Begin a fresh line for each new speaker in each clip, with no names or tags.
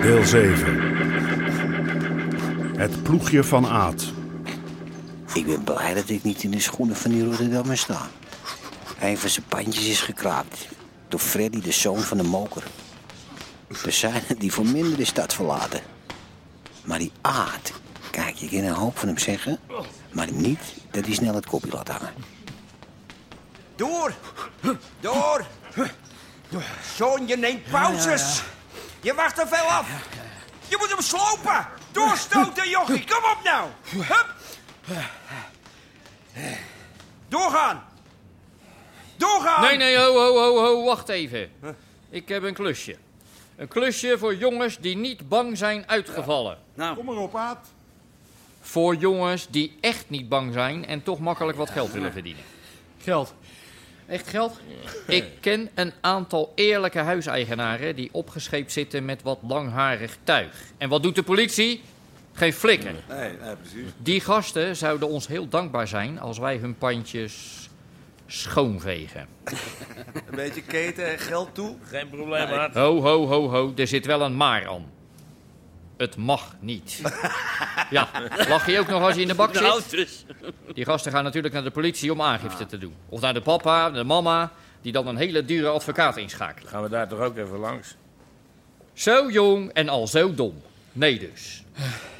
Deel 7. Het ploegje van Aad.
Ik ben blij dat ik niet in de schoenen van die Rotterdammer sta. Een van zijn pandjes is gekraapt. Door Freddy, de zoon van de moker. Er zijn er die voor minder de stad verlaten. Maar die aard, kijk, je kan een hoop van hem zeggen. Maar niet dat hij snel het kopje laat hangen.
Door! Door! Zoon, je neemt pauzes. Je wacht er veel af. Je moet hem slopen. Doorstoten, jochie. Kom op nou. Hup. Doorgaan. Doorgaan.
Nee, nee, ho, ho, ho, ho, wacht even. Ik heb een klusje. Een klusje voor jongens die niet bang zijn uitgevallen.
Nou.
Kom maar op, Aad.
Voor jongens die echt niet bang zijn en toch makkelijk wat geld willen verdienen.
Geld. Echt geld?
Ik ken een aantal eerlijke huiseigenaren die opgescheept zitten met wat langharig tuig. En wat doet de politie? Geen flikker.
Nee, nee, precies.
Die gasten zouden ons heel dankbaar zijn als wij hun pandjes schoonvegen.
Een beetje keten en geld toe.
Geen probleem, Aad.
Ho, ho, ho, ho, er zit wel een maar aan. Het mag niet. Ja, lach je ook nog als je in de bak
Nou,
zit?
dus.
Die gasten gaan natuurlijk naar de politie om aangifte te doen. Of naar de papa, de mama, die dan een hele dure advocaat inschakelen.
Gaan we daar toch ook even langs?
Zo jong en al zo dom. Nee dus.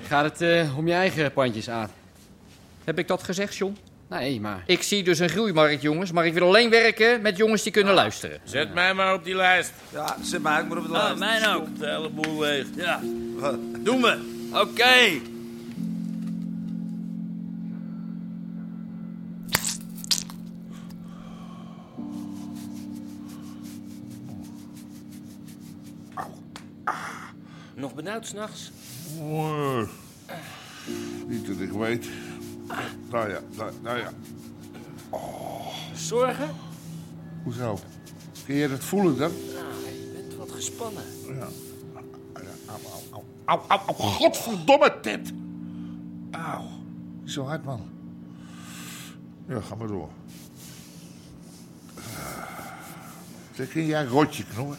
Gaat het eh, om je eigen pandjes, Aad?
Heb ik dat gezegd, John?
Nee, maar...
Ik zie dus een groeimarkt, jongens, maar ik wil alleen werken met jongens die kunnen luisteren.
Zet mij maar op die lijst.
Ja, zet mij ook maar op de
Ah,
lijst.
mijn ook. De hele boel leeg. Ja.
Wat?
Doe me. Oké. Nog benauwd s'nachts?
Oeh, Niet dat ik weet. Nou ja, nou, nou ja.
Zorgen?
Hoezo? Kun je dat voelen dan?
Nou, je bent wat gespannen.
Au, au, au, au, au, au. Godverdomme, Ted! Auw. Zo hard, man. Ja, ga maar door. Zeg, kun jij een rotje knoeien?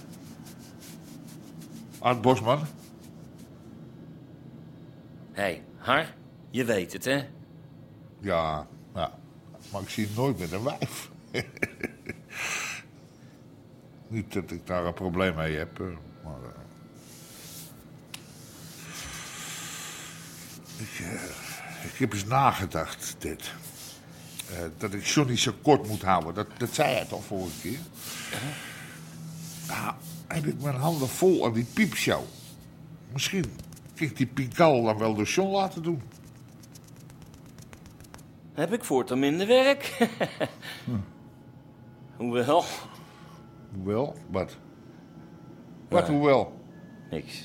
Art Bosman?
Hé, hey, Har, je weet het, hè?
Ja, ja. Maar ik zie hem nooit met een wijf. Niet dat ik daar een probleem mee heb, eh, maar... eh, ik, eh, ik heb eens nagedacht, dit. Eh, dat ik Johnny zo kort moet houden. Dat, dat zei hij toch vorige keer? Nou, heb ik mijn handen vol aan die piepshow. Misschien kan ik die Pikal dan wel door John laten doen.
Heb ik voortaan minder werk? Hm. Hoewel,
Hoewel, wat? Wat hoewel?
niks.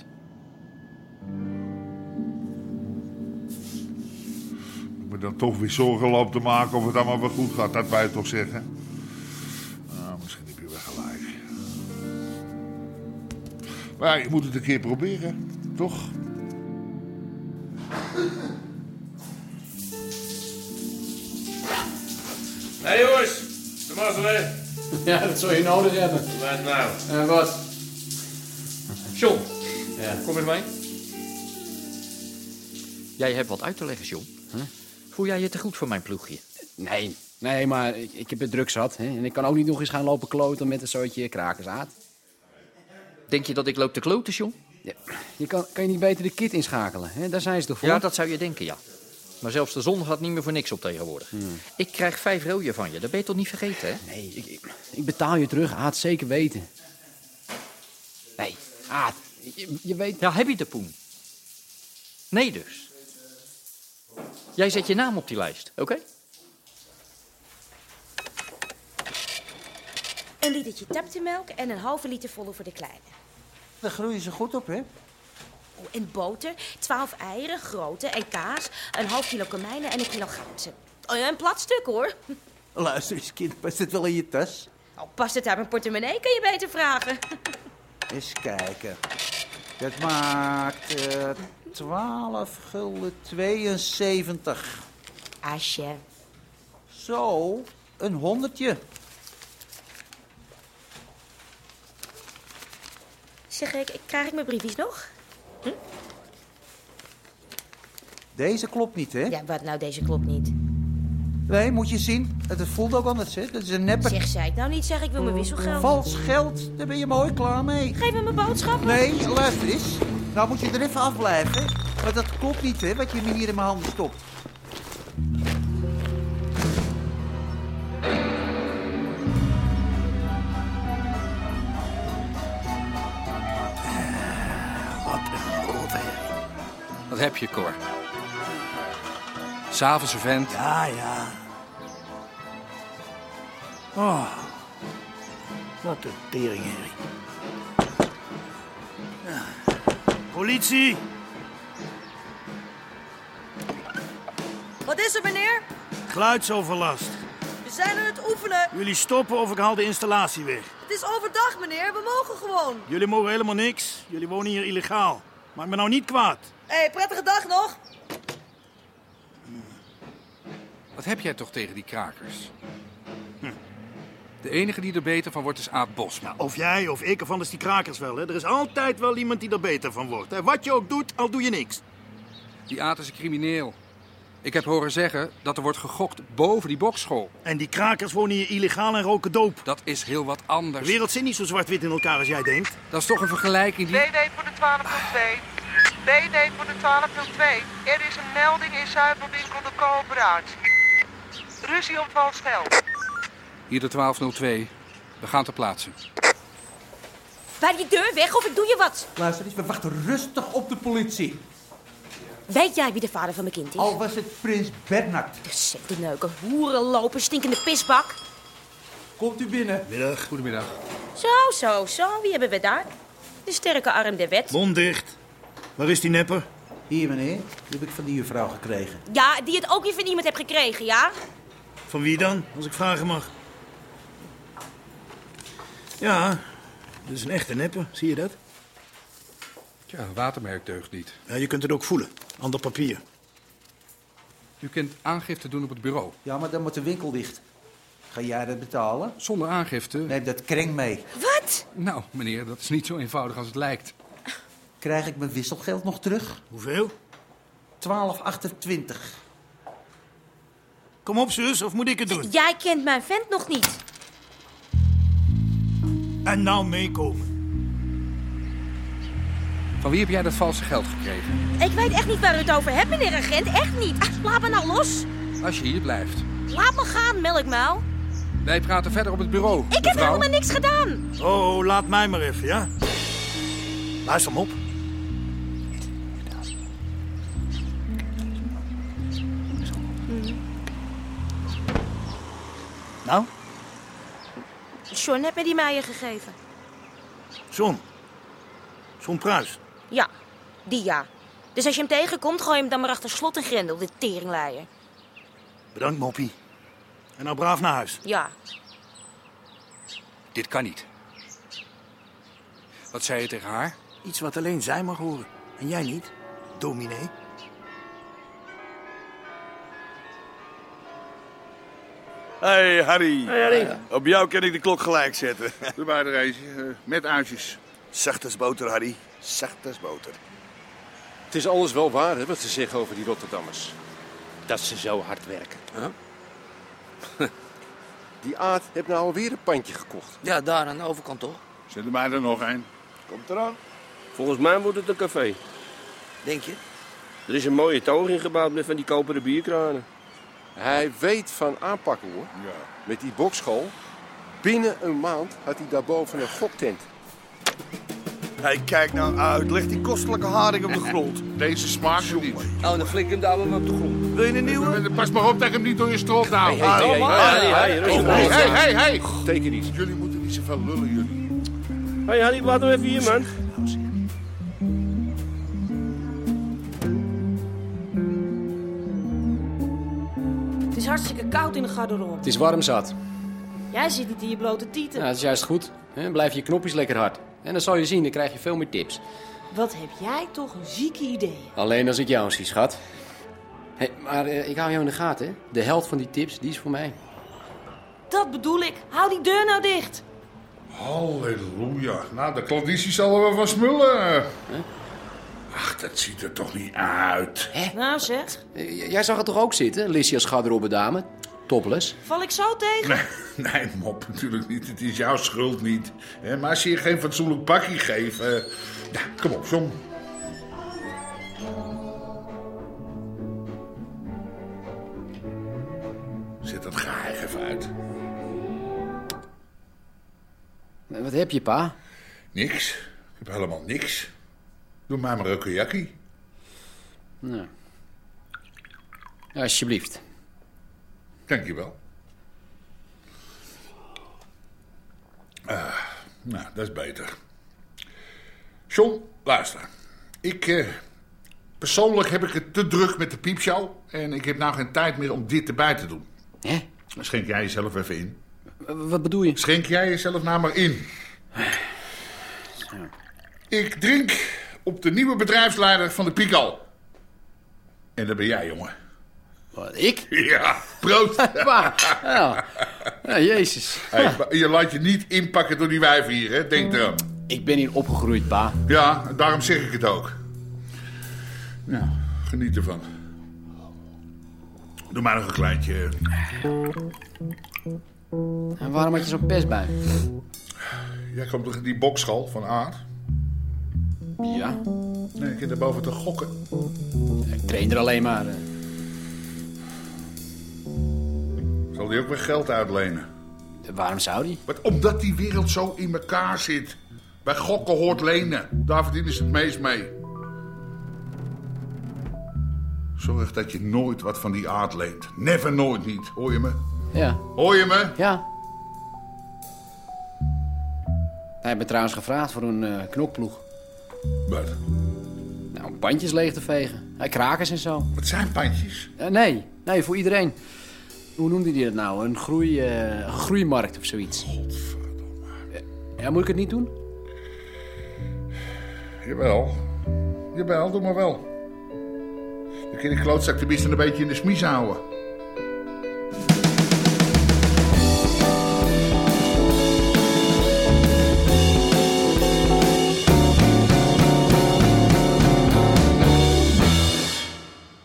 Ik me dan toch weer zorgen loop te maken of het allemaal wel goed gaat. Dat wij toch zeggen? Nou, misschien heb je wel gelijk. Maar je moet het een keer proberen, toch?
Hé hey, jongens, de mazzel
Ja, dat zou je nodig hebben.
Wat nou?
En wat?
John,
Ja.
kom eens mee. Jij hebt wat uit te leggen, John. Voel jij je te goed voor mijn ploegje?
Nee. Nee, maar ik, ik heb het druk zat. Hè? En ik kan ook niet nog eens gaan lopen kloten met een soortje krakers, Aad.
Denk je dat ik loop te kloten, John?
Ja. Je kan, kan je niet beter de kit inschakelen? Hè? Daar zijn ze toch voor?
Ja, dat zou je denken, ja. Maar zelfs de zon gaat niet meer voor niks op tegenwoordig. Ik krijg vijf rooien van je, dat ben je toch niet vergeten, hè?
Nee, ik, ik, ik betaal je terug, Aad. Zeker weten. Nee, Aad. Je, je weet...
Ja, heb je de poen? Nee dus. Jij zet je naam op die lijst, oké?
Een litertje taptemelk en een halve liter volle voor de kleine.
Daar groeien ze goed op, hè?
Oh, en boter, 12 eieren, grote en kaas, een half kilo komijnen en een kilo ganzen. Oh, ja, een plat stuk hoor.
Luister eens, kind, past het wel in je tas?
Oh, past het uit mijn portemonnee, kan je beter vragen.
Eens kijken. Dat maakt eh 12 gulden 72.
Asje.
Zo, een honderdje.
Zeg, ik, krijg ik mijn briefjes nog?
Deze klopt niet, hè?
Ja, wat nou, deze klopt niet.
Nee, moet je zien. Het het voelt ook anders, hè? Dat is een nepper.
Zeg, zei ik nou niet, zeg, ik wil mijn wisselgeld.
Vals geld, daar ben je mooi klaar mee.
Geef me mijn boodschappen.
Nee, luister eens. Nou moet je er even afblijven. Want dat klopt niet, hè, wat je me hier in mijn handen stopt.
Wat heb je, Cor? S'avonds een vent.
Ja, ja. Oh. Wat een teringherrie.
Politie!
Wat is er, meneer?
Geluidsoverlast.
We zijn aan het oefenen.
Jullie stoppen of ik haal de installatie weg.
Het is overdag, meneer. We mogen gewoon.
Jullie mogen helemaal niks. Jullie wonen hier illegaal. Maak me nou niet kwaad.
Hé, hey, prettige dag nog.
Wat heb jij toch tegen die krakers? Hm. De enige die er beter van wordt is Aad Bosman.
Nou, Of jij of ik of anders die krakers wel. Hè? Er is altijd wel iemand die er beter van wordt. Hè? Wat je ook doet, al doe je niks.
Die Aad is een crimineel. Ik heb horen zeggen dat er wordt gegokt boven die bokschool.
En die krakers wonen hier illegaal en roken doop.
Dat is heel wat
De
anders.
wereld zit niet zo zwart-wit in elkaar als jij denkt.
Dat is toch een vergelijking die...
BD voor de 1202. BD voor de 1202. Er is een melding in Zuiderwinkel de Koolbraad. Ruzie op Valsveld.
Hier de 1202. We gaan ter plaatse.
Bij die deur weg of ik doe je wat.
Luister eens, we wachten rustig op de politie.
Weet jij wie de vader van mijn kind is?
Al was het prins Bernard.
Zet neuken, hoeren lopen, stinkende pisbak.
Komt u binnen.
Middag.
Goedemiddag.
Zo, zo, zo, wie hebben we daar? De sterke arm der wet.
Mond dicht. Waar is die nepper?
Hier, meneer. Die heb ik van die juffrouw gekregen.
Ja, die het ook weer van iemand hebt gekregen, ja?
Van wie dan, als ik vragen mag? Ja, dit is een echte nepper. Zie je dat?
Ja, een watermerk deugt niet.
Ja, je kunt het ook voelen. Ander papier.
U kunt aangifte doen op het bureau.
Ja, maar dan moet de winkel dicht. Ga jij dat betalen?
Zonder aangifte?
Neem dat kreng mee.
Wat?
Nou, meneer, dat is niet zo eenvoudig als het lijkt.
Krijg ik mijn wisselgeld nog terug?
Hoeveel?
12,28.
Kom op, zus, of moet ik het doen?
Jij kent mijn vent nog niet.
En nou meekomen.
Van wie heb jij dat valse geld gekregen?
Ik weet echt niet waar u het over hebt, meneer agent. Echt niet. Ach, laat me nou los.
Als je hier blijft.
Laat me gaan, melkmuil.
Wij praten verder op het bureau.
Ik heb helemaal niks gedaan.
Oh, laat mij maar even, ja? Luister hem op.
Nou?
John heeft me die meier gegeven.
John. John Pruis.
Ja, die ja. Dus als je hem tegenkomt, gooi hem dan maar achter slot en grendel, dit teringleier.
Bedankt, Moppie. En nou braaf naar huis.
Ja,
Dit kan niet. Wat zei je tegen haar?
Iets wat alleen zij mag horen. En jij niet, dominee.
Hey Harry. Eh,
Hey, Harry.
Op jou kan ik de klok gelijk zetten.
Er waren er eentje, eh, met uitjes.
Zacht als boter, Harry. Zacht als boter.
Het is alles wel waar hè, wat ze zeggen over die Rotterdammers. Dat ze zo hard werken. die Aad heeft nou alweer een pandje gekocht.
Ja, daar aan de overkant toch? Zet er mij er nog een. Komt eraan.
Volgens mij wordt het een café.
Denk je?
Er is een mooie toog ingebouwd met van die koperen bierkranen.
Hij weet van aanpakken hoor. Met die bokschool. Binnen een maand had hij daarboven een goktent.
Hey, kijk nou uit. Leg die kostelijke haring op de grond.
Deze smaakt er niet. eh,
Oh, dan flik hem daar op de grond. Wil je een nieuwe?
Pas maar op dat ik hem niet door je strot haal.
Hey, hey, hey, hey, hey, hey,
hey,
hey,
hey, hey.
Teken niet.
Jullie moeten niet zoveel lullen, jullie.
Hé, hey, Harry, laat hem even hier, man.
Het is hartstikke koud in de garderobe.
Het is warm zat.
Jij zit niet in je blote tieten.
Nou, dat is juist goed. hè. Blijf je knopjes lekker hard. En dan zal je zien, dan krijg je veel meer tips.
Wat heb jij toch een zieke idee?
Alleen als ik jou zie, schat. Hé, maar eh, ik hou jou in de gaten, hè. De helft van die tips, die is voor mij.
Dat bedoel ik. Hou die deur nou dicht.
Halleluja. Nou, de klanditie zal er wel van smullen. Ach, dat ziet er toch niet uit.
Nou zeg,
Eh, j- jij zag het toch ook zitten, Lissy als garderobe dame? Topless.
val ik zo tegen?
Nee, nee, mop, natuurlijk niet. Het is jouw schuld niet. Hè, Maar als je je geen fatsoenlijk pakje geeft... eh, nou, kom op, John. Zet dat geheim even uit.
Eh, Wat heb je, pa?
Niks. Ik heb helemaal niks. Doe mij maar een kajakkie.
Nou. Alsjeblieft.
Dankjewel. Ah, nou, dat is beter. John, luister. Ik, eh, persoonlijk heb ik het te druk met de piepshow... en ik heb nou geen tijd meer om dit erbij te doen.
Hè?
Schenk jij jezelf even in.
Wat bedoel je?
Schenk jij jezelf nou maar in. Ik drink op de nieuwe bedrijfsleider van de Pico. En dat ben jij, jongen.
Wat, ik?
Ja, proost.
Waar? Ja. Ja, jezus.
Hey, maar je laat je niet inpakken door die wijven hier, hè? Denk erom.
Ik ben hier opgegroeid, pa.
Ja, daarom zeg ik het ook. Nou, geniet ervan. Doe maar nog een kleintje.
En waarom had je zo'n pest bij?
Jij komt toch in die bokschal van Aard?
Ja,
Nee, ik zit daarboven te gokken.
ik train er alleen maar. eh.
Zal die ook weer geld uitlenen?
Waarom zou die?
Wat, omdat die wereld zo in elkaar zit. Bij gokken hoort lenen. Daar verdienen ze het meest mee. Zorg dat je nooit wat van die aard leent. Never nooit niet. Hoor je me?
Ja.
Hoor je me?
Ja. Hij heeft me trouwens gevraagd voor een eh, knokploeg.
Wat?
Nou, om pandjes leeg te vegen. Hij krakers en zo.
Wat zijn pandjes?
Eh, nee, nee, voor iedereen. Hoe noemde hij dat nou? Een groei, eh, een groeimarkt of zoiets. Eh, Ja, moet ik het niet doen?
Jawel. Jawel, doe maar wel. Dan kun je die klootzak tenminste een beetje in de smies houden.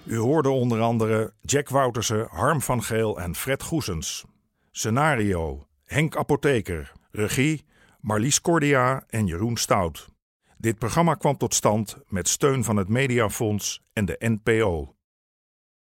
U hoorde onder andere Jack Woutersen, Harm van Geel en Fred Goesens. Scenario: Henk Apotheker. Regie: Marlies Cordia en Jeroen Stout. Dit programma kwam tot stand met steun van het Mediafonds en de NPO.